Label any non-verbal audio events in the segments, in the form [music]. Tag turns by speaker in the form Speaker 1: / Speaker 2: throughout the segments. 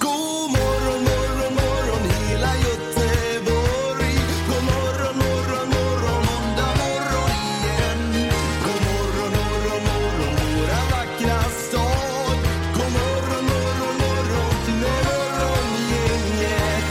Speaker 1: God morgon morgon morgon hela Göteborg. God morgon morgon morgon måndag morgon igen. God morgon morgon morgon våra vackra stad. God morgon morgon morgon morgongänget.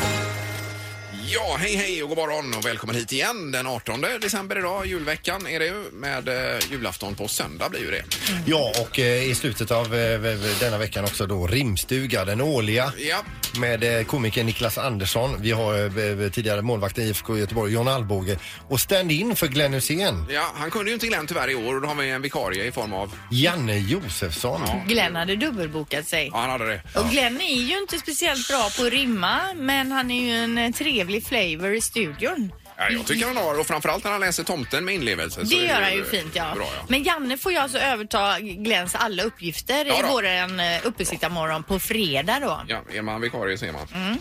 Speaker 2: Ja, hej hej och god morgon och välkommen hit igen den 18 december idag. Julveckan är det ju med eh, julafton på söndag blir ju det.
Speaker 3: Ja, och eh, i slutet av eh, v- v- denna veckan också då Rimstuga, den årliga.
Speaker 2: Ja.
Speaker 3: Med eh, komikern Niklas Andersson. Vi har eh, v- v- tidigare målvakten i IFK Göteborg, John Alvbåge. Och stand-in för Glenn Hussein,
Speaker 2: Ja, han kunde ju inte Glenn tyvärr i år och då har vi en vikarie i form av...
Speaker 3: Janne Josefsson.
Speaker 4: Glenn hade dubbelbokat sig.
Speaker 2: Ja, han hade det.
Speaker 4: Och Glenn är ju inte speciellt bra på att rimma, men han är ju en eh, trevlig flavor i studion.
Speaker 2: Ja, jag tycker han har och framförallt när han läser Tomten med inlevelse. så
Speaker 4: Det
Speaker 2: är
Speaker 4: gör han ju fint, ja.
Speaker 2: Bra, ja.
Speaker 4: Men Janne får ju alltså överta Glens alla uppgifter
Speaker 2: Ja
Speaker 4: i
Speaker 2: då.
Speaker 4: våran eh, uppesittarmorgon på fredag då.
Speaker 2: Ja, är man vikarie så är man.
Speaker 4: Mm.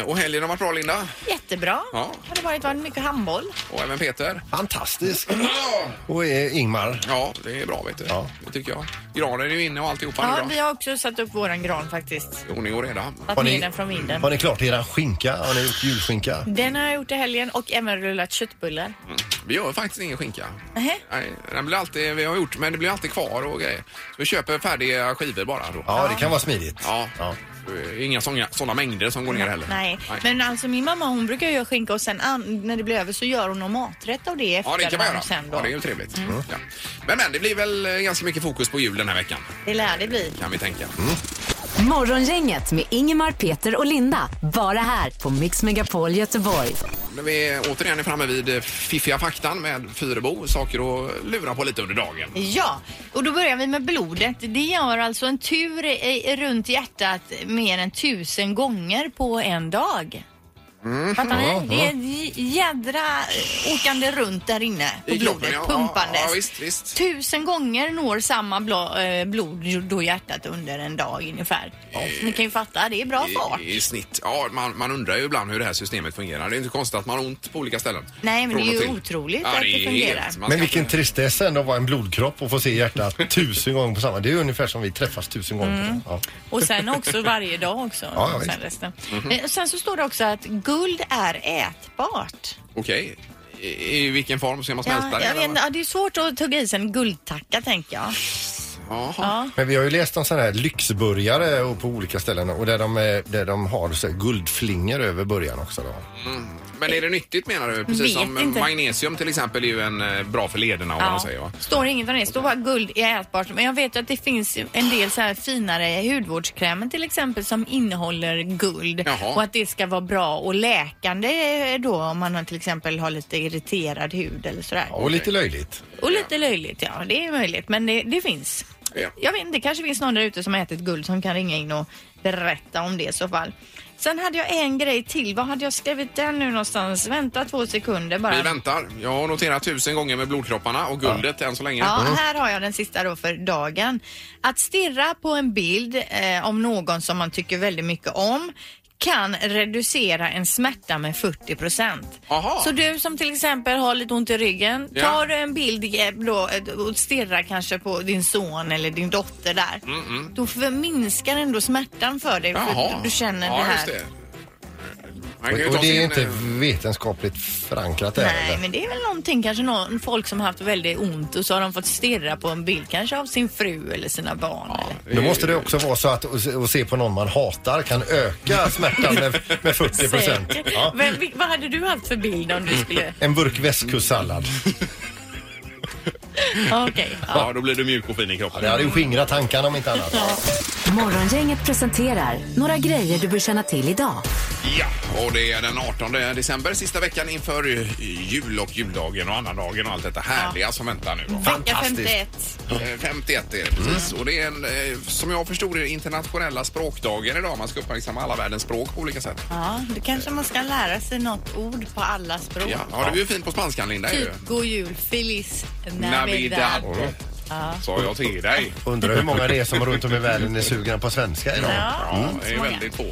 Speaker 2: Eh, och helgen har varit bra Linda
Speaker 4: Jättebra.
Speaker 2: Ja.
Speaker 4: Har det varit varit mycket handboll?
Speaker 2: och även Peter.
Speaker 3: Fantastisk. Och eh, Ingmar.
Speaker 2: Ja, det är bra vet du.
Speaker 3: Ja.
Speaker 2: Det tycker jag. Granen är ju inne och alltihopa
Speaker 4: Ja,
Speaker 2: nu
Speaker 4: vi
Speaker 2: då.
Speaker 4: har också satt upp våran gran faktiskt.
Speaker 2: Ordning och reda.
Speaker 4: Tagit
Speaker 3: Har ni-
Speaker 4: ner den från vinden.
Speaker 3: Har ni klart eran skinka? Har ni gjort julskinka?
Speaker 4: Den har jag gjort i helgen och även rullat köttbullar.
Speaker 2: Mm. Vi gör faktiskt ingen skinka.
Speaker 4: Nähä.
Speaker 2: Nej, den blir alltid, vi har gjort, men det blir alltid kvar och grejer. Så vi köper färdiga skivor bara då.
Speaker 3: Ja, det kan vara smidigt.
Speaker 2: Ja. Inga såna, såna mängder som går ner heller.
Speaker 4: Nej, men alltså min mamma hon brukar ju göra skinka och sen an- när det blir över så gör hon någon maträtt av det
Speaker 2: Ja, det kan man göra.
Speaker 4: sen då. Mm.
Speaker 2: Ja, det är ju trevligt. Ja. Men, men det blir väl eh, ganska mycket fokus på jul den här veckan,
Speaker 4: det lär det bli.
Speaker 2: kan vi tänka.
Speaker 5: Morgongänget med Ingemar, Peter och Linda. Bara här på Mix Megapol Göteborg.
Speaker 2: När vi återigen är framme vid eh, fiffiga faktan med Fyrebo. Saker att lura på lite under dagen.
Speaker 4: Ja, och då börjar vi med blodet. Det gör alltså en tur i, runt hjärtat mer än tusen gånger på en dag.
Speaker 2: Mm.
Speaker 4: Fattar ni? Det är ett jädra eh, åkande runt där inne på
Speaker 2: I kroppen,
Speaker 4: blodet,
Speaker 2: ja.
Speaker 4: pumpandes.
Speaker 2: Ja, ja, visst, visst.
Speaker 4: Tusen gånger når samma bla, eh, blod då hjärtat under en dag ungefär. Så ni kan ju fatta, det är bra fart.
Speaker 2: I, I snitt. Ja, man, man undrar ju ibland hur det här systemet fungerar. Det är inte konstigt att man har ont på olika ställen.
Speaker 4: Nej, men
Speaker 2: Från
Speaker 4: det är
Speaker 2: och
Speaker 4: ju
Speaker 2: till.
Speaker 4: otroligt att det
Speaker 2: är
Speaker 4: fungerar.
Speaker 2: helt- man
Speaker 3: Men
Speaker 2: ska
Speaker 3: vilken
Speaker 2: inte-
Speaker 3: tristess ändå att vara en blodkropp och få se hjärtat tusen gånger på samma. Det är ju ungefär som vi träffas tusen gånger.
Speaker 4: Mm.
Speaker 3: på dagen. Ja.
Speaker 4: Och sen också varje dag också.
Speaker 3: Ja, ja,
Speaker 4: sen,
Speaker 3: visst.
Speaker 4: resten. Eh, sen så står det också att guld är ätbart.
Speaker 2: Okej. I, I vilken form ska man smälta det?
Speaker 4: jag
Speaker 2: eller
Speaker 4: vet,
Speaker 2: vad?
Speaker 4: ja, det är svårt att tugga i sig en guldtacka tänker jag.
Speaker 2: Jaha.
Speaker 4: Ja.
Speaker 3: Men vi har ju läst om sådana här lyxburgare och på olika ställen och där de, eh, där de har så här guldflingor över burgaren också. Då.
Speaker 2: Men är det nyttigt menar du? Precis
Speaker 4: Vet
Speaker 2: som eh,
Speaker 4: inte.
Speaker 2: magnesium till exempel är ju en eh, bra för lederna om man säger va?
Speaker 4: Står inget om det. Står bara guld är ätbart. Men jag vet ju att det finns en del så här finare hudvårdskrämer till exempel som innehåller guld.
Speaker 2: Jaha.
Speaker 4: Och att det ska vara bra och läkande eh, då om man har- till exempel har lite irriterad hud eller sådär.
Speaker 3: Ja, och lite löjligt.
Speaker 4: Och lite löjligt, ja. Det är möjligt, men det, det finns.
Speaker 2: Ja.
Speaker 4: Jag vet inte, det kanske finns någon där ute som har ätit guld som kan ringa in och berätta om det i så fall. Sen hade jag en grej till. Vad hade jag skrivit den nu någonstans? Vänta två sekunder bara.
Speaker 2: Vi väntar. Jag har noterat tusen gånger med blodkropparna och guldet än så länge.
Speaker 4: Ja, här har jag den sista då för dagen. Att stirra på en bild eh, om någon som man tycker väldigt mycket om kan reducera en smärta med 40 procent.
Speaker 2: Aha.
Speaker 4: Så du som till exempel har lite ont i ryggen,
Speaker 2: Ja.
Speaker 4: tar du en bild eh, då, eh, och stirrar kanske på din son eller din dotter där, då för- minskar ändå smärtan för dig. För
Speaker 2: Jaha.
Speaker 4: att du känner
Speaker 2: ja,
Speaker 4: det här.
Speaker 2: just det. Man kan ju
Speaker 3: Och,
Speaker 2: ta
Speaker 3: och det
Speaker 2: sin,
Speaker 3: är inte
Speaker 2: eh,
Speaker 3: vetenskapligt förankrat det här,
Speaker 4: Nej,
Speaker 3: eller?
Speaker 4: men det är väl någonting kanske någon, folk som har haft väldigt ont och så har de fått stirra på en bild kanske av sin fru eller sina barn. Eller.
Speaker 3: Då måste det också vara så att att se- att se på någon man hatar kan
Speaker 2: [laughs]
Speaker 3: öka smärtan med, med 40 procent.
Speaker 4: Säkert.
Speaker 3: Ja.
Speaker 4: Vem- vil- vad hade du haft för bild om
Speaker 2: [laughs]
Speaker 4: du skulle...
Speaker 3: En burk västkustsallad.
Speaker 4: Okej. ja.
Speaker 2: Ja, då blir du mjuk och fin i
Speaker 3: Ja,
Speaker 2: kroppen.
Speaker 3: det hade ju skingrat tankarna om inte annat.
Speaker 5: Morgongänget presenterar några grejer du bör känna till idag.
Speaker 2: Ja, och det är den 18 december, sista veckan inför eh, jul och juldagen och annandagen och allt detta härliga som väntar nu. då.
Speaker 4: Vecka 51.
Speaker 2: Eh, 51 är det
Speaker 4: Mm.
Speaker 2: precis. Och det är en, eh, som jag förstod det, internationella språkdagen idag. Man ska uppmärksamma alla världens språk på olika sätt.
Speaker 4: Ja, då kanske man ska lära sig något ord på alla språk.
Speaker 2: Ja, ja det är ju fint på spanskan Linda. är det ju.
Speaker 4: Typ god jul, feliz navidad.
Speaker 2: Navidad. Sa jag till dig.
Speaker 3: Undrar hur många det är som runt om i världen är sugna på svenska idag.
Speaker 2: Ja, det är
Speaker 4: Mm. många.
Speaker 2: väldigt få.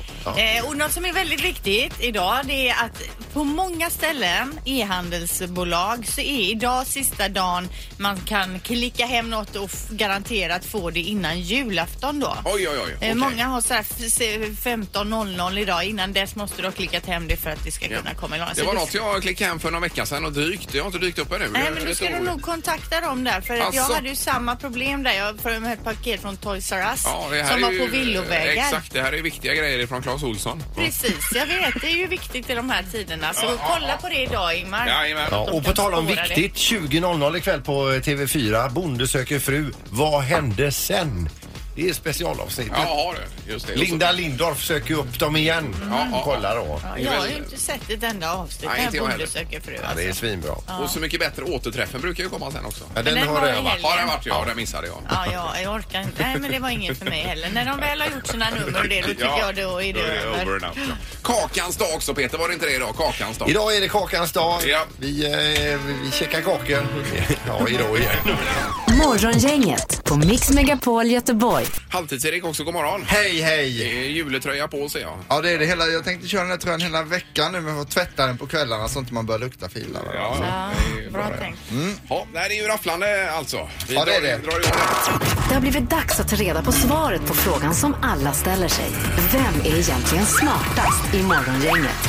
Speaker 4: Eh, och något som är väldigt viktigt idag det är att på många ställen, e-handelsbolag, så är idag sista dagen man kan klicka hem något och f- garanterat få det innan julafton då.
Speaker 2: Oj, oj, oj.
Speaker 4: Eh,
Speaker 2: okej.
Speaker 4: Många har sådär f- se- 15.00 idag. Innan dess måste du ha klickat hem det för att det ska
Speaker 2: Ja.
Speaker 4: kunna komma igång.
Speaker 2: Det var något jag klickade hem för någon vecka sedan och dykt. Jag har inte dykt upp ännu.
Speaker 4: Nej,
Speaker 2: Jag Alltså- är
Speaker 4: men då ska
Speaker 2: lite
Speaker 4: du
Speaker 2: orolig.
Speaker 4: nog kontakta dem där. För att jag
Speaker 2: Asså?
Speaker 4: hade ju samma problem där. Jag får med ett paket från Toys R Us
Speaker 2: Ja, det här
Speaker 4: som var
Speaker 2: är
Speaker 4: på
Speaker 2: ju-
Speaker 4: villovägar.
Speaker 2: Exakt, det här är viktiga grejer från Claes Olsson.
Speaker 4: Precis, jag vet. Det är ju viktigt i de här tiderna. Så
Speaker 2: Ja, ja,
Speaker 4: kolla
Speaker 2: ja.
Speaker 4: på det idag, Ingmar.
Speaker 2: Jajamän.
Speaker 3: Ja, och på tal om
Speaker 4: Spåra det.
Speaker 3: viktigt, 20.00 ikväll på TV4, Bonde söker fru. Vad hände sen? Det är specialavsnittet.
Speaker 2: Ja, det, just det.
Speaker 3: Linda Lindorff söker upp dem igen.
Speaker 2: ja,
Speaker 3: Kolla då.
Speaker 4: Ja,
Speaker 2: Det är
Speaker 4: jag har
Speaker 2: väl-
Speaker 4: ju inte sett ett enda avsnitt.
Speaker 2: Nej,
Speaker 4: Nej,
Speaker 2: inte jag heller.
Speaker 4: jag söker fru.
Speaker 3: Ja, det är
Speaker 4: Alltså.
Speaker 3: svinbra.
Speaker 2: Och så mycket bättre återträffen brukar ju komma sen också.
Speaker 3: Ja, den,
Speaker 4: den
Speaker 3: har
Speaker 4: var
Speaker 3: jag
Speaker 4: i
Speaker 3: varit.
Speaker 4: helgen.
Speaker 2: Har den varit? Ja, den missade jag.
Speaker 4: Ja, ja, jag orkar inte. Nej, men det var inget för mig heller. När de väl har gjort sina nummer och det, då tycker jag då är det
Speaker 2: over
Speaker 4: över.
Speaker 2: and out, ja. Kakans dag också Peter, var det inte det idag? Kakans dag.
Speaker 3: Idag är det kakans dag.
Speaker 2: Ja.
Speaker 3: Vi, eh, vi checkar kakor. [laughs] Ja, idag igen.
Speaker 5: Morgongänget på Mix Megapol Göteborg.
Speaker 2: Halvtids-Erik också, god morgon.
Speaker 6: Hej, hej!
Speaker 2: Det är Juletröja på ser jag.
Speaker 6: Ja, det är det hela. Jag tänkte köra den här tröjan hela veckan nu, men får tvätta den på kvällarna så inte man börjar lukta filar. va?
Speaker 2: Ja,
Speaker 4: Ja,
Speaker 2: det är
Speaker 4: bra
Speaker 2: det.
Speaker 4: tänkt.
Speaker 2: Ja, nej, det är ju rafflande alltså. Vi
Speaker 6: Ja, det är
Speaker 2: drar-
Speaker 6: det.
Speaker 2: Drar igång det.
Speaker 5: Det har blivit dags att ta reda på svaret på frågan som alla ställer sig. Vem är egentligen smartast i Morgongänget?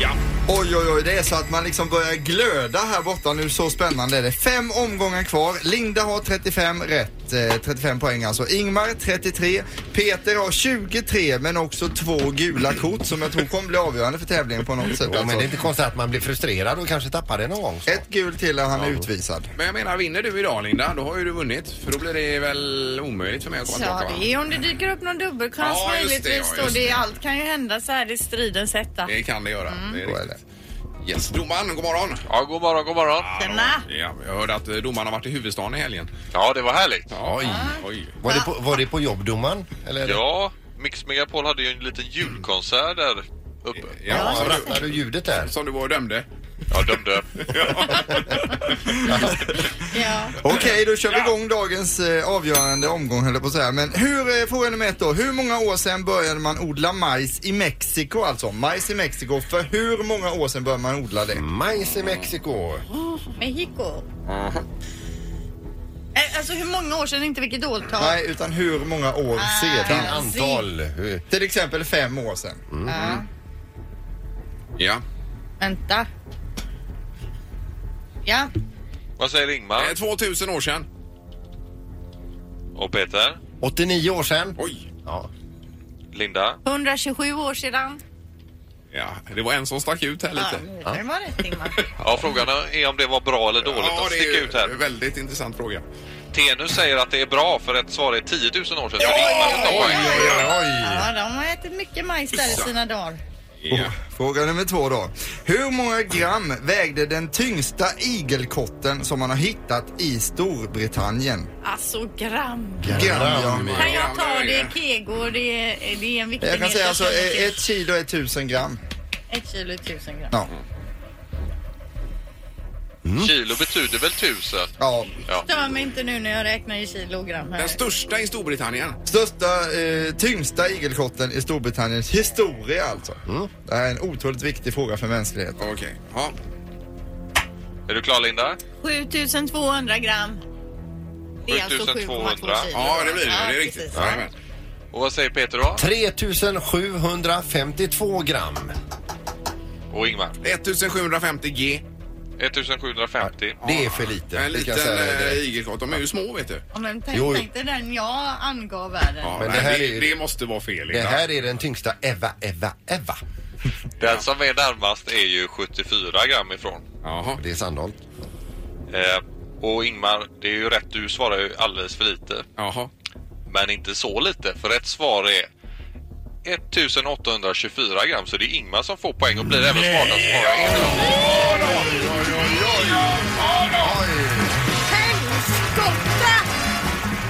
Speaker 2: Ja.
Speaker 6: Oj, oj, oj, det är så att man liksom börjar glöda här borta nu. Så spännande är det. Fem omgångar kvar. Linda har 35 rätt, eh, 35 poäng alltså. Ingmar 33. Peter har 23, men också två gula kort som jag tror kommer bli avgörande för tävlingen på något sätt.
Speaker 3: Ja, men
Speaker 6: Alltså.
Speaker 3: det är inte konstigt att man blir frustrerad och kanske tappar det någon gång. så.
Speaker 6: Ett gult till och han är utvisad.
Speaker 2: Men jag menar, vinner du idag Linda, då har ju du vunnit. För då blir det väl omöjligt för mig att komma
Speaker 4: Ja,
Speaker 2: tillbaka va?
Speaker 4: det är om det dyker upp någon dubbelchans
Speaker 2: Ja, just det, ja,
Speaker 4: möjligtvis. då.
Speaker 2: just
Speaker 4: Det,
Speaker 2: det.
Speaker 4: allt kan ju hända så här i stridens hetta.
Speaker 2: Det kan det göra. Det är
Speaker 6: Så är
Speaker 2: riktigt. Yes, domaren, god morgon.
Speaker 7: Ja, god morgon, god morgon.
Speaker 4: Tjena!
Speaker 2: Ja, jag hörde att eh, domaren har varit i huvudstaden i helgen.
Speaker 7: Ja, det var härligt.
Speaker 2: Ja, oj. oj.
Speaker 3: Var det på, var det på jobb, domaren? Eller?
Speaker 7: Ja, Mix Megapol hade ju en liten julkonsert där uppe.
Speaker 2: Ja,
Speaker 3: Ja,
Speaker 2: som, du,
Speaker 3: Rattade du ljudet där?
Speaker 2: som du var och dömde.
Speaker 7: Jag dömde.
Speaker 4: Ja.
Speaker 6: Okej, då kör vi igång dagens eh, avgörande omgång höll jag på att säga. Men hur, eh, fråga nummer ett då. Hur många år sedan började man odla majs i Mexiko alltså? Majs i Mexiko. För hur många år sedan började man odla det?
Speaker 3: Majs i Mexiko.
Speaker 4: Mexico. Eh, Alltså hur många år sedan, inte vilket årtal.
Speaker 6: Nej, utan hur många år
Speaker 3: Till
Speaker 6: sedan?
Speaker 3: antal. eh,
Speaker 6: Till exempel fem år sedan.
Speaker 4: Ja.
Speaker 2: Ja.
Speaker 4: Äh, Vänta. Ja,
Speaker 7: Vad säger
Speaker 2: Eh,
Speaker 7: Ingmar
Speaker 2: 2000 år sedan.
Speaker 7: och Peter?
Speaker 3: 89 år sedan.
Speaker 2: Oj.
Speaker 3: Ja.
Speaker 7: Linda?
Speaker 4: 127 år sedan.
Speaker 2: Ja, det var en som stack ut här
Speaker 4: Ja,
Speaker 2: lite.
Speaker 4: det var rätt Ingmar.
Speaker 7: Ja, frågan är om det var bra eller dåligt att
Speaker 2: det är
Speaker 7: sticka
Speaker 2: ju
Speaker 7: ut här.
Speaker 2: en väldigt intressant fråga.
Speaker 7: Tenus säger att det är bra för ett svar är 10 000 år sedan. Så Ingmar får ta poäng.
Speaker 3: Oj.
Speaker 4: Ja, de har ätit mycket majs där i sina dagar.
Speaker 2: Ja.
Speaker 6: Fråga nummer två då. Hur många gram vägde den tyngsta igelkotten som man har hittat i Storbritannien?
Speaker 4: Alltså gram.
Speaker 6: Gram, ja.
Speaker 4: Kan jag ta det kego? Det är, det är en viktig
Speaker 6: Jag kan
Speaker 4: enhet,
Speaker 6: säga alltså
Speaker 4: känner till.
Speaker 6: eh, ett kilo är tusen gram.
Speaker 4: ett kilo är tusen gram.
Speaker 6: Ja.
Speaker 7: Kilo betyder väl tusen?
Speaker 6: ja.
Speaker 7: Ja.
Speaker 4: Stör mig inte nu när jag räknar i kilo och gram här.
Speaker 2: Den största i Storbritannien.
Speaker 6: Största, eh, tyngsta igelkotten i Storbritanniens historia alltså.
Speaker 3: Mm.
Speaker 6: Det här är en otroligt viktig fråga för mänskligheten.
Speaker 2: Okej. Ja.
Speaker 7: Är du klar Linda?
Speaker 4: 7200 gram. Det är alltså
Speaker 7: 7200.
Speaker 4: 7,2 kilo.
Speaker 2: ja, det blir det. Det är riktigt.
Speaker 4: precis.
Speaker 2: Jajamän.
Speaker 7: Och vad säger Peter då?
Speaker 3: 3752 gram.
Speaker 7: Och Ingmar?
Speaker 2: 1750 G.
Speaker 7: 1750.
Speaker 3: Det är för lite.
Speaker 2: En
Speaker 3: det kan
Speaker 2: liten
Speaker 3: jag säga dig
Speaker 2: eh,
Speaker 3: direkt.
Speaker 2: igelkott. De är ju små, vet du.
Speaker 4: Ja, men
Speaker 3: Jo,
Speaker 4: tänk,
Speaker 3: jo.
Speaker 4: tänk dig den jag angav här.
Speaker 2: Ja,
Speaker 3: Men
Speaker 2: nej,
Speaker 3: det här
Speaker 2: det,
Speaker 3: är-
Speaker 2: det måste vara fel.
Speaker 3: Det
Speaker 2: Linda.
Speaker 3: här är den tyngsta Eva, Eva, Eva.
Speaker 7: Den som är närmast är ju 74 gram ifrån.
Speaker 2: Jaha.
Speaker 3: Det är Sandholt.
Speaker 7: Eh, och Ingmar, det är ju rätt. Du svarar ju alldeles för lite.
Speaker 2: Jaha.
Speaker 7: Men inte så lite, för rätt svar är 1824 gram, så det är Ingmar som får poäng och blir även smartast. svarare.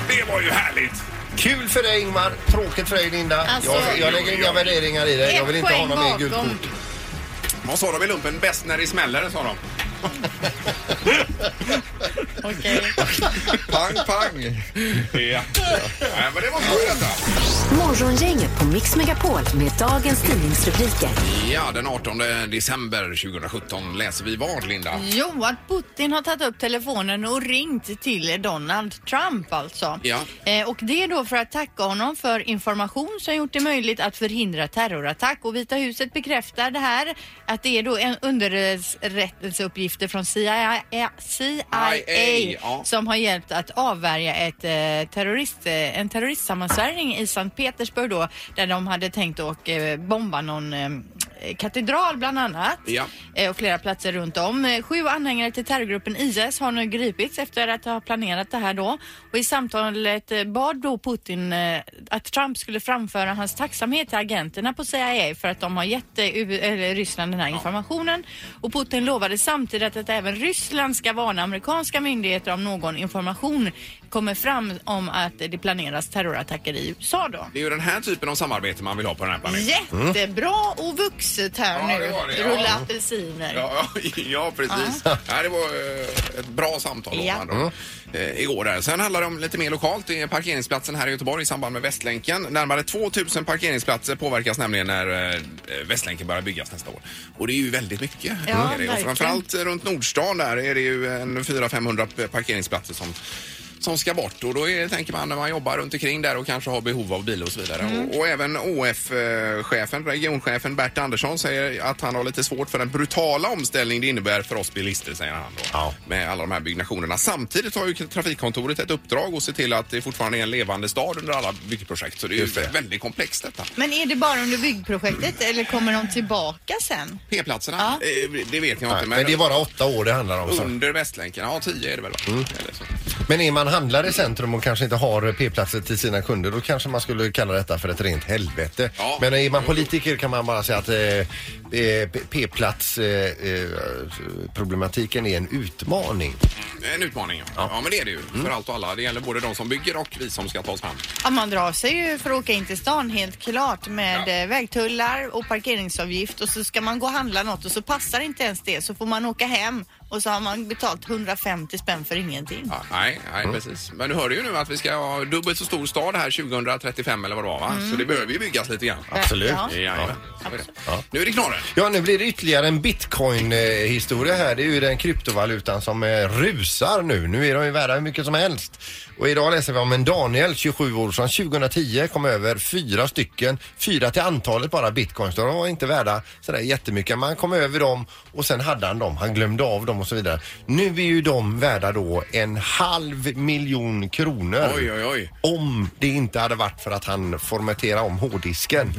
Speaker 2: Det var ju härligt!
Speaker 3: Kul för dig Ingmar, tråkigt för dig Linda.
Speaker 4: Alltså-
Speaker 3: jag, jag lägger inga värderingar i det. Jag vill inte ha någon mer gult
Speaker 4: bakom.
Speaker 3: kort.
Speaker 2: Vad sa de i lumpen? Bäst när det smäller, sa de.
Speaker 6: Pang, pang.
Speaker 2: [laughs] Ja. Nej, men det var skoj detta.
Speaker 5: Morgongänget på Mix Megapol med dagens tidningsrubriker.
Speaker 2: Ja, den 18 december 2017 läser vi vad, Linda?
Speaker 4: Jo, att Putin har tagit upp telefonen och ringt till Donald Trump alltså.
Speaker 2: Ja.
Speaker 4: Eh, och det är då för att tacka honom för information som gjort det möjligt att förhindra terrorattack. Och Vita huset bekräftar det här, att det är då en underrättelseuppgifter från CIA, CIA
Speaker 2: ja.
Speaker 4: som har hjälpt att avvärja ett, eh, terrorist, eh, en terroristsammansvärjning i Sankt Petersburg då, där de hade tänkt att eh, bomba någon eh, katedral bland annat
Speaker 2: Ja.
Speaker 4: eh, och flera platser runt om. Eh, Sju anhängare till terrorgruppen IS har nu gripits efter att ha planerat det här då. Och i samtalet eh, bad då Putin eh, att Trump skulle framföra hans tacksamhet till agenterna på CIA för att de har gett eh, U- eller Ryssland den här informationen. Och Putin lovade samtidigt att även Ryssland ska varna amerikanska myndigheter om någon information kommer fram om att eh, det planeras terrorattacker i USA då.
Speaker 2: Det är ju den här typen av samarbete man vill ha på den här planeten.
Speaker 4: Jättebra och vuxet här
Speaker 2: Ja, det
Speaker 4: nu.
Speaker 2: var det, ja.
Speaker 4: Rulla apelsiner.
Speaker 2: Ja, ja, [laughs] ja precis. Ja, det var eh, ett bra samtal
Speaker 4: Ja.
Speaker 2: ja. då, eh, igår. Där. Sen handlar det om lite mer lokalt. Det är parkeringsplatsen här i Göteborg i samband med Västlänken. Närmare 2000 parkeringsplatser påverkas nämligen när eh, Västlänken börjar byggas nästa år. Och det är ju väldigt mycket.
Speaker 4: Ja,
Speaker 2: är det. Och
Speaker 4: verkligen.
Speaker 2: framförallt eh, runt Nordstan där är det ju en 400-500 parkeringsplatser som som ska bort och då är, tänker man när man jobbar runt omkring där och kanske har behov av bil och så vidare. Och, och även ÅF-chefen, regionchefen Bert Andersson säger att han har lite svårt för den brutala omställning det innebär för oss bilister, säger han då,
Speaker 3: Ja.
Speaker 2: med alla de här byggnationerna. Samtidigt har ju trafikkontoret ett uppdrag att se till att det fortfarande är en levande stad under alla byggprojekt. Så det är ju väldigt komplext detta.
Speaker 4: Men är det bara under byggprojektet eller kommer de tillbaka sen?
Speaker 2: P-platserna, eh, det vet jag inte.
Speaker 3: Men det är bara åtta år det handlar om. Så.
Speaker 2: Under Västlänken, ja 10 är det väl? va?
Speaker 3: Mm.
Speaker 2: Eller så.
Speaker 3: Men är man handlare i centrum och kanske inte har p-platser till sina kunder då kanske man skulle kalla detta för ett rent helvete.
Speaker 2: Ja.
Speaker 3: Men är man politiker kan man bara säga att eh, eh, p-platsproblematiken eh, eh, problematiken är en utmaning.
Speaker 2: Eh, En utmaning, ja. ja. men det är det ju.
Speaker 3: Mm.
Speaker 2: För allt och alla. Det gäller både de som bygger och vi som ska ta oss fram.
Speaker 4: Ja, man drar sig ju för att åka in till stan helt klart med
Speaker 2: Ja.
Speaker 4: eh, vägtullar och parkeringsavgift och så ska man gå och handla något och så passar inte ens det så får man åka hem och så har man betalt 150 spänn för ingenting.
Speaker 2: Ja, nej, nej
Speaker 3: Mm.
Speaker 2: precis. Men du hörde ju nu att vi ska ha dubbelt så stor stad här 2035 eller vad det var, va?
Speaker 3: Mm.
Speaker 2: Så det behöver ju byggas lite grann.
Speaker 3: Absolut.
Speaker 4: Ja.
Speaker 2: Jajamän, så är det. Nu är det knorren.
Speaker 3: Ja, nu blir det ytterligare en bitcoin-historia här. Det är ju den kryptovalutan som eh, rusar nu. Nu är de ju värda hur mycket som helst. Och idag läser vi om en Daniel, 27 år, som 2010 kom över fyra stycken, fyra till antalet bara bitcoins. De var inte värda sådär jättemycket. Man kom över dem och sen hade han dem. Han glömde av dem och så vidare. Nu är ju de värda då en halv miljon kronor.
Speaker 2: Oj, oj, oj.
Speaker 3: Om det inte hade varit för att han formaterade
Speaker 2: [laughs]
Speaker 3: om hårddisken.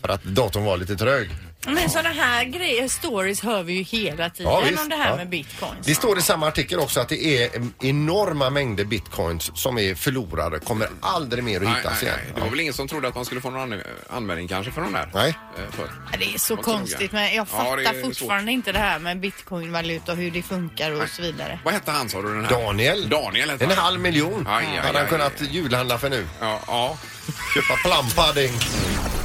Speaker 3: för att datorn var lite trög.
Speaker 4: Men sådana här grejer, stories hör vi ju hela tiden
Speaker 3: Ja, visst,
Speaker 4: om det här
Speaker 3: ja.
Speaker 4: med bitcoins.
Speaker 3: Det står i samma artikel också att det är em, enorma mängder bitcoins som är förlorade, kommer aldrig mer att
Speaker 2: Nej,
Speaker 3: hittas
Speaker 2: nej,
Speaker 3: igen.
Speaker 2: nej. Det var väl ingen som trodde att man skulle få någon an- användning kanske för de där?
Speaker 3: Nej.
Speaker 2: Eh, För.
Speaker 4: Ja, Det är så
Speaker 2: Vad tror jag?
Speaker 4: konstigt men jag
Speaker 2: Ja,
Speaker 4: fattar
Speaker 2: det är svårt.
Speaker 4: fortfarande inte det här med bitcoinvaluta och hur det funkar och så vidare.
Speaker 2: Vad hette han sa du? Den här?
Speaker 3: Daniel,
Speaker 2: Daniel hette
Speaker 3: en
Speaker 2: han.
Speaker 3: halv miljon
Speaker 2: Aj, aj,
Speaker 3: hade han
Speaker 2: aj,
Speaker 3: kunnat
Speaker 2: aj.
Speaker 3: julhandla för nu.
Speaker 2: Ja, ja.
Speaker 3: Köpa plampudding.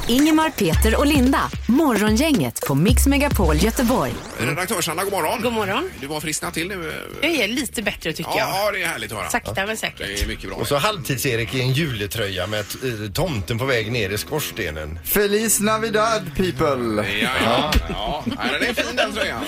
Speaker 5: Ingemar, Peter och Linda. Morgongänget på Mix Megapol Göteborg.
Speaker 3: Mm.
Speaker 2: Redaktörs-Anna, god morgon.
Speaker 8: God morgon.
Speaker 2: Du var frisknat till nu. eh.
Speaker 8: Jag är lite bättre tycker
Speaker 2: Ja,
Speaker 8: jag.
Speaker 2: ja, det är härligt att höra.
Speaker 8: Sakta men säkert.
Speaker 2: Det är mycket bra.
Speaker 3: Och så halvtids-Erik i en juletröja med t- eh, tomten på väg ner i skorstenen.
Speaker 6: Feliz Navidad people.
Speaker 2: Ja, ja, ja. Nej, den är fin den tröjan.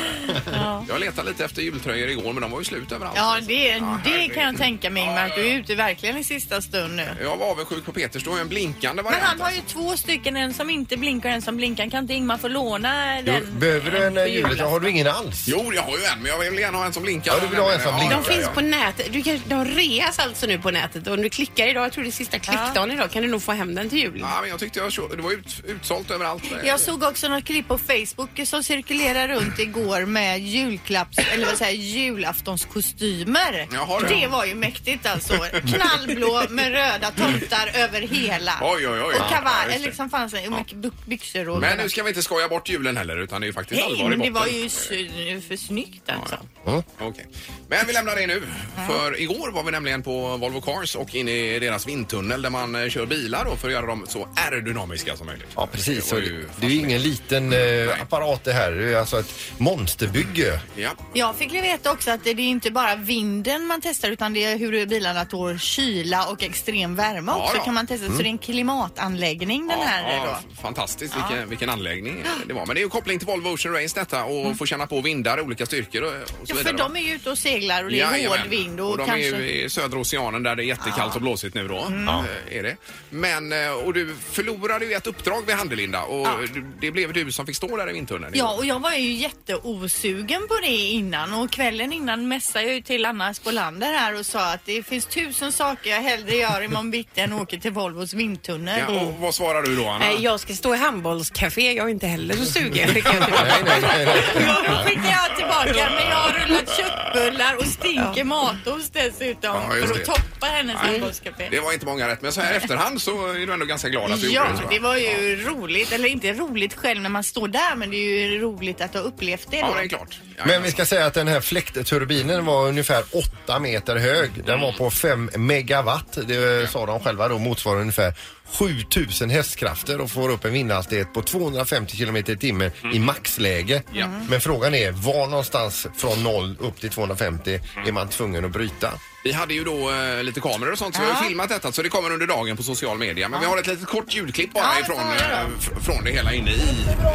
Speaker 2: Jag letade lite efter jultröjor igår men de var ju slut överallt.
Speaker 4: Ja, det, är- det
Speaker 2: herregud.
Speaker 4: kan jag tänka mig Ingmar, att du är ute verkligen i sista stund nu.
Speaker 2: Jag var avundsjuk på Peters, då har jag en blinkande
Speaker 4: Men
Speaker 2: variant.
Speaker 4: han har ju två stycken, en som inte blinkar och en som blinkar. Kan inte Ingmar få låna
Speaker 3: Jo,
Speaker 4: den?
Speaker 3: behöver du en
Speaker 4: på
Speaker 3: eh, juletröja? Har du ingen alls?
Speaker 2: Jo, jag har ju en, men jag vill gärna ha en som blinkar.
Speaker 3: Ja, du vill ha en som
Speaker 2: Ja,
Speaker 3: blinkar.
Speaker 8: De finns
Speaker 2: ja.
Speaker 8: på nätet. Du kan, de reas alltså nu på nätet. Och om du klickar idag, jag tror det är sista klickdagen idag, kan du nog få hem den till jul.
Speaker 2: Ja, men jag tyckte jag så- det var ut, utsålt överallt.
Speaker 4: Jag såg också något klipp på Facebook som cirkulerade runt igår med julklapps, eller vad säger jag, julaftonskostymer.
Speaker 2: Jaha, det.
Speaker 4: det. var ju mäktigt alltså. Knallblå med röda tomtar över hela.
Speaker 2: Oj, oj, oj. Ja,
Speaker 4: Och
Speaker 2: just
Speaker 4: kavaj,
Speaker 2: det.
Speaker 4: eller liksom fanns det, och mycket bu- byxor och
Speaker 2: Men nu ska ska vi inte skoja bort julen heller utan det är ju faktiskt
Speaker 8: Nej,
Speaker 2: allvar i
Speaker 8: men det
Speaker 2: botten.
Speaker 8: var ju sy- för snyggt alltså.
Speaker 3: Mm.
Speaker 2: Okej. Men vi lämnar det nu. För igår var vi nämligen på Volvo Cars och in i deras vindtunnel där man eh, kör bilar då för att göra dem så aerodynamiska som möjligt.
Speaker 3: Ja, precis. Och det det är ju ingen liten eh, apparat det här. Det är alltså ett monsterbygge.
Speaker 2: Ja.
Speaker 4: Jag fick ju veta också att det är inte bara vinden man testar utan det är hur bilarna tål kyla och extrem värme
Speaker 2: Ja,
Speaker 4: också
Speaker 2: ja.
Speaker 4: kan man testa. Så
Speaker 2: Mm.
Speaker 4: det är en klimatanläggning den här då.
Speaker 2: Ja, fantastiskt vilken, vilken anläggning det var. Men det är ju koppling till Volvo Ocean Race detta och få känna på vindar i olika styrkor och, och så
Speaker 4: Mm. Ja,
Speaker 2: vidare.
Speaker 4: för
Speaker 2: va?
Speaker 4: de är ju ute och seglar och det är
Speaker 2: Jajamän.
Speaker 4: hård vind och,
Speaker 2: och de
Speaker 4: kanske... Mm.
Speaker 2: är ju i södra oceanen där det är jättekallt och blåsigt nu då.
Speaker 4: Ja.
Speaker 2: Eh, Är det. Men, eh, och du förlorade ju ett uppdrag vid Handelinda och du- det blev du som fick stå där i vindtunneln.
Speaker 4: Ja, och jag var ju jätteosugen på det innan och kvällen innan messade jag ju till Anna Spolander här och sa att det finns tusen saker jag hellre gör imorgon bitti än åker till Volvos vindtunnel.
Speaker 2: Ja, och vad svarar du då Anna?
Speaker 8: Nej, Jag ska stå i handbollscafé, jag är inte heller så sugen. skickar jag tillbaka.
Speaker 4: Då skickar jag tillbaka men jag har rullat köttbullar och stinker matost dessutom
Speaker 2: Ja, just
Speaker 4: för att
Speaker 2: det.
Speaker 4: toppa hennes
Speaker 2: Nej.
Speaker 4: handbollscafé.
Speaker 2: Det var inte många rätt men så här i efterhand så är du ändå ganska glad att du
Speaker 4: Ja,
Speaker 2: gjorde det. tror
Speaker 4: det
Speaker 2: jag.
Speaker 4: var ju roligt. Eller inte roligt själv när man står där men det är ju roligt att ha upplevt det.
Speaker 2: Ja,
Speaker 4: då.
Speaker 2: det är klart.
Speaker 3: Men vi ska säga att den här fläktturbinen var ungefär 8 meter hög. Den var på 5 megawatt. Det sa de själva då motsvarar ungefär 7000 hästkrafter och får upp en vindhastighet på 250 kilometer i timmen i maxläge.
Speaker 2: Ja.
Speaker 3: Men frågan är var någonstans från 0 upp till 250 är man tvungen att bryta?
Speaker 2: Vi hade ju då eh, lite kameror och sånt så vi har ju filmat detta så det kommer under dagen på social media. Men vi har ett litet kort ljudklipp bara ifrån, eh, fr- från det hela inne i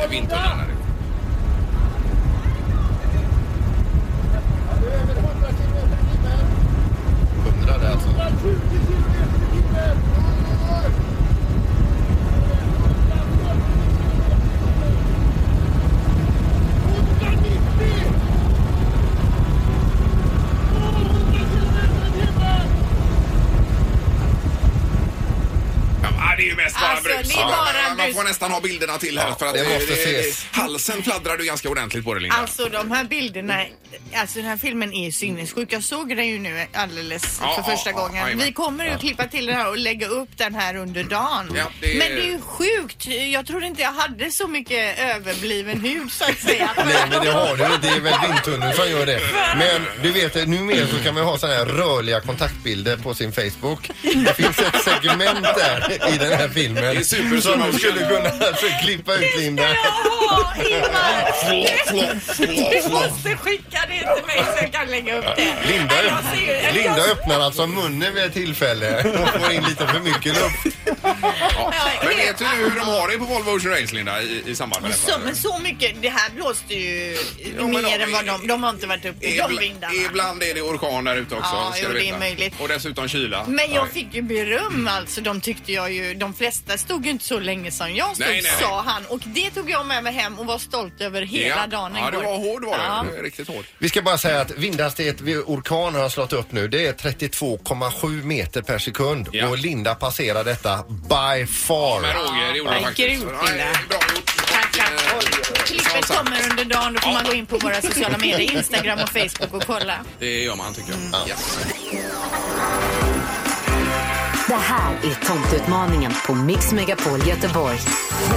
Speaker 2: eh, vindtunneln. här. alltså. Ja, det är ju mest bara
Speaker 8: Alltså,
Speaker 2: brus.
Speaker 8: det är bara
Speaker 2: Ja, man
Speaker 8: brus.
Speaker 2: får nästan ha bilderna till här för att
Speaker 3: det måste ses.
Speaker 2: halsen fladdrade ju ganska ordentligt på det Linda.
Speaker 4: Alltså de här bilderna, alltså den här filmen är ju sinnessjuk. Jag såg den ju nu alldeles
Speaker 2: Ja,
Speaker 4: för
Speaker 2: ja,
Speaker 4: första
Speaker 2: ja,
Speaker 4: gången.
Speaker 2: jajamän.
Speaker 4: Vi kommer ju klippa till den här och lägga upp den här under dagen.
Speaker 2: Ja, det är-
Speaker 4: Men det är ju sjukt. Jag trodde inte jag hade så mycket överbliven hud så att
Speaker 2: [laughs]
Speaker 4: säga.
Speaker 3: Nej men det har du, det är väl vindtunneln som gör det. Men du vet numera så kan man ha sådana här rörliga kontaktbilder på sin Facebook. Det finns ett segment där i den här filmen.
Speaker 2: Det är super-
Speaker 3: som man skulle kunna alltså, klippa ut Linda.
Speaker 4: Åh, Ingmar! Du
Speaker 3: Flå,
Speaker 4: måste skicka det till mig så jag kan lägga upp det.
Speaker 3: Linda,
Speaker 4: Nej, jag ser-
Speaker 3: Linda
Speaker 4: jag-
Speaker 3: öppnar alltså munnen vid ett tillfälle och får in lite för mycket luft.
Speaker 8: Alltså,
Speaker 2: Men typ- vet du hur de har det på Volvo Ocean Race Linda i, i samband med detta?
Speaker 4: Så, men så mycket, det här blåste ju
Speaker 2: Jo, men
Speaker 4: mer
Speaker 2: de-
Speaker 4: än vad de, de har inte varit uppe i de
Speaker 2: Ibla-
Speaker 4: vindarna.
Speaker 2: Ibland är det orkan där ute också.
Speaker 4: Ja,
Speaker 2: ska
Speaker 4: jo,
Speaker 2: du
Speaker 4: det
Speaker 2: veta.
Speaker 4: är möjligt.
Speaker 2: Och dessutom kyla.
Speaker 4: Men
Speaker 2: Ja.
Speaker 4: jag fick ju beröm alltså. De tyckte jag ju, de flesta stod ju inte så länge som jag stod,
Speaker 2: Nej, nej, nej.
Speaker 4: sa han. Och det tog jag med mig hem och var stolt över hela
Speaker 2: ja.
Speaker 4: dagen
Speaker 2: Ja,
Speaker 4: igår.
Speaker 2: du var hård var du.
Speaker 4: Ja.
Speaker 2: Du är Riktigt hård.
Speaker 3: Vi ska bara säga att vindhastighet vid orkaner har slått upp nu. Det är 32,7 meter per sekund
Speaker 2: Ja.
Speaker 3: och Linda passerar detta by far.
Speaker 2: Men Roger, det gjorde
Speaker 8: Ja,
Speaker 2: du faktiskt.
Speaker 8: grymt,
Speaker 2: Ja, det är Bra gjort.
Speaker 4: Tack, tack. Och
Speaker 2: Eh, Som
Speaker 4: Klippet
Speaker 2: sagt,
Speaker 4: kommer under dagen. Då får man gå in på våra sociala medier, Instagram och Facebook och kolla.
Speaker 2: Det gör man tycker jag. Ja.
Speaker 5: Det här är tomtutmaningen på Mix Megapol Göteborg.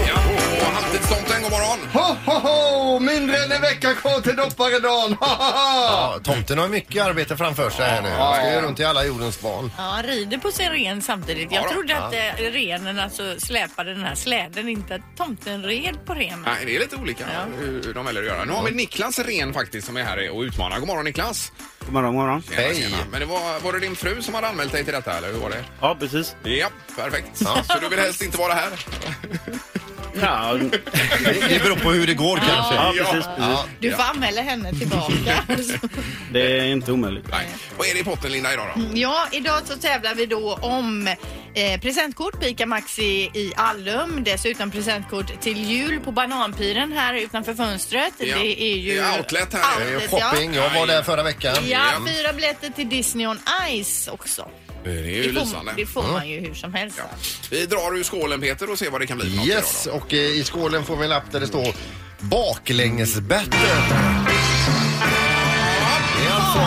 Speaker 2: Ja, och halvtidstomten, god morgon.
Speaker 6: Ho, ho, ho! Mindre än en vecka kvar till dopparedagen. Ha, ha, ha!
Speaker 3: Ja, tomten har mycket arbete framför sig här nu. Han ska ju runt i alla jordens barn.
Speaker 4: Ja, rider på sin ren samtidigt.
Speaker 2: Ja
Speaker 4: Jag
Speaker 2: då.
Speaker 4: trodde att eh, renen alltså släpade den här släden, inte att tomten red på renen.
Speaker 2: Nej, det är lite olika hur de väljer att göra. Nu har vi Niklas Ren faktiskt som är här och utmanar. God morgon Niklas.
Speaker 9: God morgon, god morgon.
Speaker 2: Tjena,
Speaker 3: Hej.
Speaker 2: tjena. Men det var, var det din fru som hade anmält dig till detta eller hur var det?
Speaker 9: Ja, precis.
Speaker 2: Ja, perfekt. Så du vill helst inte vara här?
Speaker 9: Ja,
Speaker 3: Det beror på hur det går kanske.
Speaker 9: ja precis, precis.
Speaker 4: Du får anmäla henne
Speaker 2: [laughs]
Speaker 4: tillbaka.
Speaker 9: Det är inte omöjligt.
Speaker 2: Nej. Vad är det i potten Linda idag då?
Speaker 4: Ja, idag så tävlar vi då om eh, presentkort på ICA Maxi i Allum. Dessutom presentkort till jul på Bananpiren här utanför fönstret.
Speaker 2: Ja.
Speaker 4: Det är ju...
Speaker 2: Det är outlet här.
Speaker 3: Det är ju
Speaker 4: Outlet, ja.
Speaker 3: shopping. Jag var där förra veckan.
Speaker 4: Ja, fyra biljetter till Disney on Ice också.
Speaker 2: Det är ju
Speaker 4: Det får,
Speaker 2: lysande. Mm.
Speaker 4: det får man ju hur som helst.
Speaker 2: Ja. Vi drar ur skålen Peter och ser vad det kan bli för något
Speaker 3: Yes,
Speaker 2: idag
Speaker 3: och eh, i skålen får vi en lapp där det står baklängesbattle. Det är alltså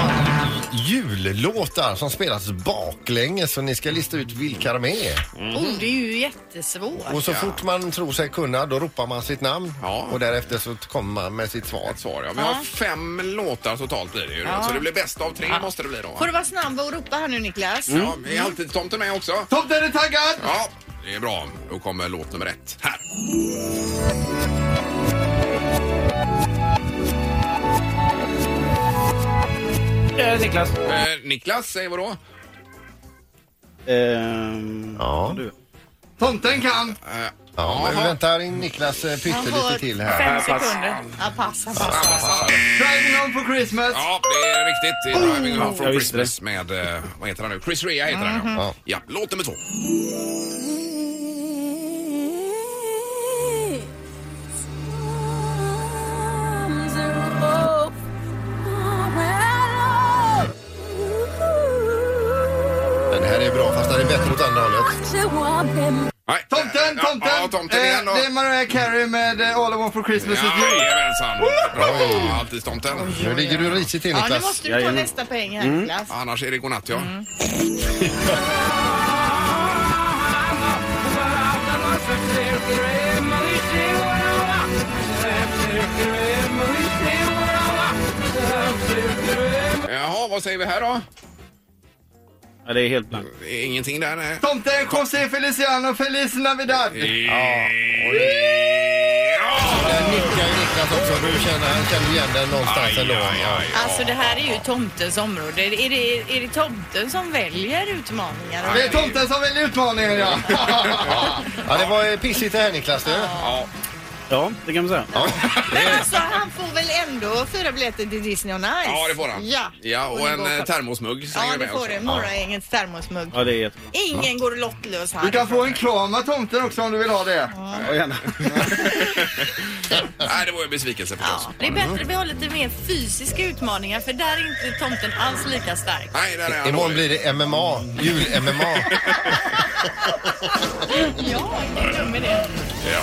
Speaker 3: jullåtar som spelas baklänges så ni ska lista ut vilka de är.
Speaker 4: Mm-hmm.
Speaker 8: Oh, det är ju jättesvårt.
Speaker 3: Och så fort man tror sig kunna då ropar man sitt namn och därefter så kommer man med sitt svar.
Speaker 2: svar ja. Vi har fem låtar totalt blir det ju. då.
Speaker 4: Ja.
Speaker 2: Så det blir bäst av tre måste det bli då.
Speaker 4: Får du Mm. vara snabb och ropa här nu Niklas?
Speaker 2: Ja, är alltid tomten med också?
Speaker 6: Tomten är taggad!
Speaker 2: Ja, det är bra. Då kommer låt nummer ett här.
Speaker 9: Niklas.
Speaker 2: Eh, Niklas, säg vad då?
Speaker 3: ja.
Speaker 9: Du.
Speaker 6: Tomten kan!
Speaker 3: Ja, men vi väntar in Niklas eh, pyttelite till här.
Speaker 4: fem sekunder. Ja, passa, passa.
Speaker 6: Driving on for Christmas!
Speaker 2: Ja, det är riktigt. Det är Mm-hmm. Driving Home
Speaker 9: Jag
Speaker 2: for
Speaker 9: visste
Speaker 2: Christmas med, eh, vad heter han nu? Chris Rea heter han ja. ja. Låt nummer två.
Speaker 3: Den här är bra fast den är bättre åt andra hållet.
Speaker 2: Nej.
Speaker 6: Tomten,
Speaker 2: Ja,
Speaker 6: tomten!
Speaker 2: Ja, tomten
Speaker 6: Eh,
Speaker 2: igen då.
Speaker 6: Det är Mariah Carey med eh, All I Want For Christmas Is You.
Speaker 2: Jajamensan! Bra, Alltid tomten.
Speaker 3: Nu ligger du risigt till
Speaker 4: Ja, nu
Speaker 3: Niklas.
Speaker 4: måste du ta
Speaker 9: Jajamän.
Speaker 4: nästa poäng här Niklas.
Speaker 2: Annars är det godnatt ja.
Speaker 4: Mm.
Speaker 2: Jaha, vad säger vi här då?
Speaker 9: Ja, det är helt blankt.
Speaker 2: Det är Ingenting där nej.
Speaker 6: Tomten, José Feliciano, Feliz Navidad!
Speaker 2: Ja.
Speaker 3: Där Eh, nickar ju Niklas också. Du känner, han känner igen den någonstans ändå.
Speaker 4: Alltså det här är ju tomtens område. Är det, är det tomten som väljer utmaningar?
Speaker 6: Det är tomten som väljer utmaningen, ja.
Speaker 3: Ja, det var eh, pissigt det här Niklas du.
Speaker 2: Ja.
Speaker 9: Ja, det kan man säga.
Speaker 4: Men alltså han får väl ändå fyra biljetter till Disney on Ice?
Speaker 2: ja, det får han.
Speaker 4: Ja,
Speaker 2: ja och
Speaker 4: det
Speaker 2: en
Speaker 4: går
Speaker 2: eh,
Speaker 4: för-
Speaker 2: termosmugg slänger
Speaker 4: Ja,
Speaker 2: vi
Speaker 4: det
Speaker 2: med
Speaker 4: får
Speaker 2: också.
Speaker 4: du. Morgongängets termosmugg.
Speaker 9: Ja, det är jättebra.
Speaker 4: Ingen går lottlös här.
Speaker 6: Du kan få en kram av tomten också om du vill ha det.
Speaker 9: Ja, gärna.
Speaker 2: Nej, det var ju en besvikelse förstås.
Speaker 4: Ja, det är bättre att vi har lite mer fysiska utmaningar för där är inte tomten alls lika stark.
Speaker 2: Nej, där är han
Speaker 3: Imorgon
Speaker 2: dålig.
Speaker 3: blir det MMA. Jul-MMA.
Speaker 4: Ja, inte dum det.
Speaker 2: Ja.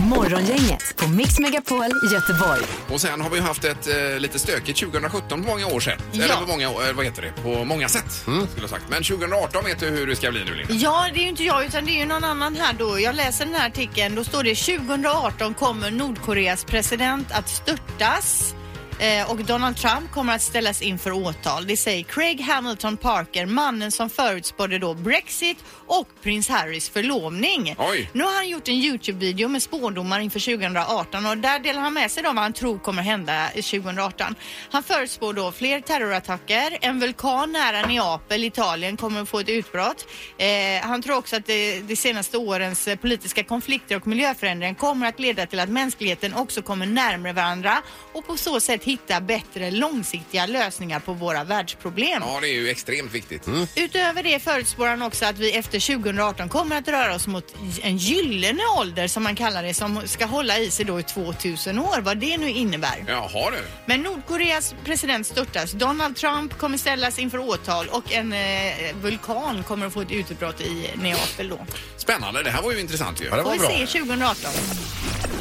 Speaker 5: Morgongänget på Mix Megapol Göteborg.
Speaker 2: Och sen har vi ju haft ett eh, lite stökigt 2017 på många år sedan.
Speaker 4: Ja.
Speaker 2: Eller på många, eh, vad heter det? På många sätt
Speaker 6: Mm.
Speaker 2: skulle jag sagt. Men 2018 vet du hur det ska bli nu Linda.
Speaker 4: Ja, det är ju inte jag utan det är ju någon annan här då. Jag läser den här artikeln. Då står det 2018 kommer Nordkoreas president att störtas. eh, Och Donald Trump kommer att ställas inför åtal. Det säger Craig Hamilton Parker, mannen som förutspådde då Brexit och prins Harrys förlovning.
Speaker 2: Oj.
Speaker 4: Nu har han gjort en Youtube-video med spådomar inför 2018 och där delar han med sig då vad han tror kommer hända i 2018. Han förutspår då fler terrorattacker, en vulkan nära Neapel, Italien kommer att få ett utbrott. Eh, han tror också att det, de senaste årens eh, politiska konflikter och miljöförändringar kommer att leda till att mänskligheten också kommer närmare varandra och på så sätt hitta bättre långsiktiga lösningar på våra världsproblem.
Speaker 2: Ja, det är ju extremt viktigt.
Speaker 3: Mm.
Speaker 4: Utöver det förutspår han också att vi efter 2018 kommer att röra oss mot en gyllene ålder som man kallar det som ska hålla i sig då i 2000 år, vad det nu innebär.
Speaker 2: Jaha du.
Speaker 4: Men Nordkoreas president störtas, Donald Trump kommer ställas inför åtal och en eh, vulkan kommer att få ett utbrott i Neapel då.
Speaker 2: Spännande. Det här var ju intressant ju.
Speaker 3: Ja, det
Speaker 4: Får
Speaker 3: var
Speaker 4: vi
Speaker 3: bra.
Speaker 4: se 2018.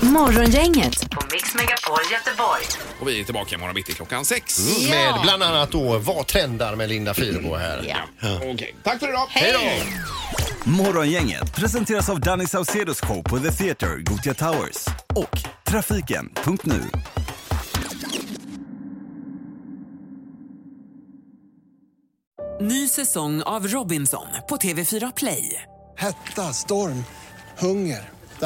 Speaker 5: Morgongänget på Mix Megapol Göteborg.
Speaker 2: Och vi är tillbaka imorgon bitti klockan sex.
Speaker 4: [laughs] Ja.
Speaker 3: Med bland annat då Vad trendar med Linda Fyrebo här.
Speaker 4: Ja.
Speaker 2: Okej. Tack för idag.
Speaker 4: Hej!
Speaker 10: Morgongänget presenteras av Danny Saucedos show på The Theatre, Gothia Towers och Trafiken.nu.
Speaker 11: Ny säsong av Robinson på TV4 Play.
Speaker 12: Hetta, storm, hunger. Det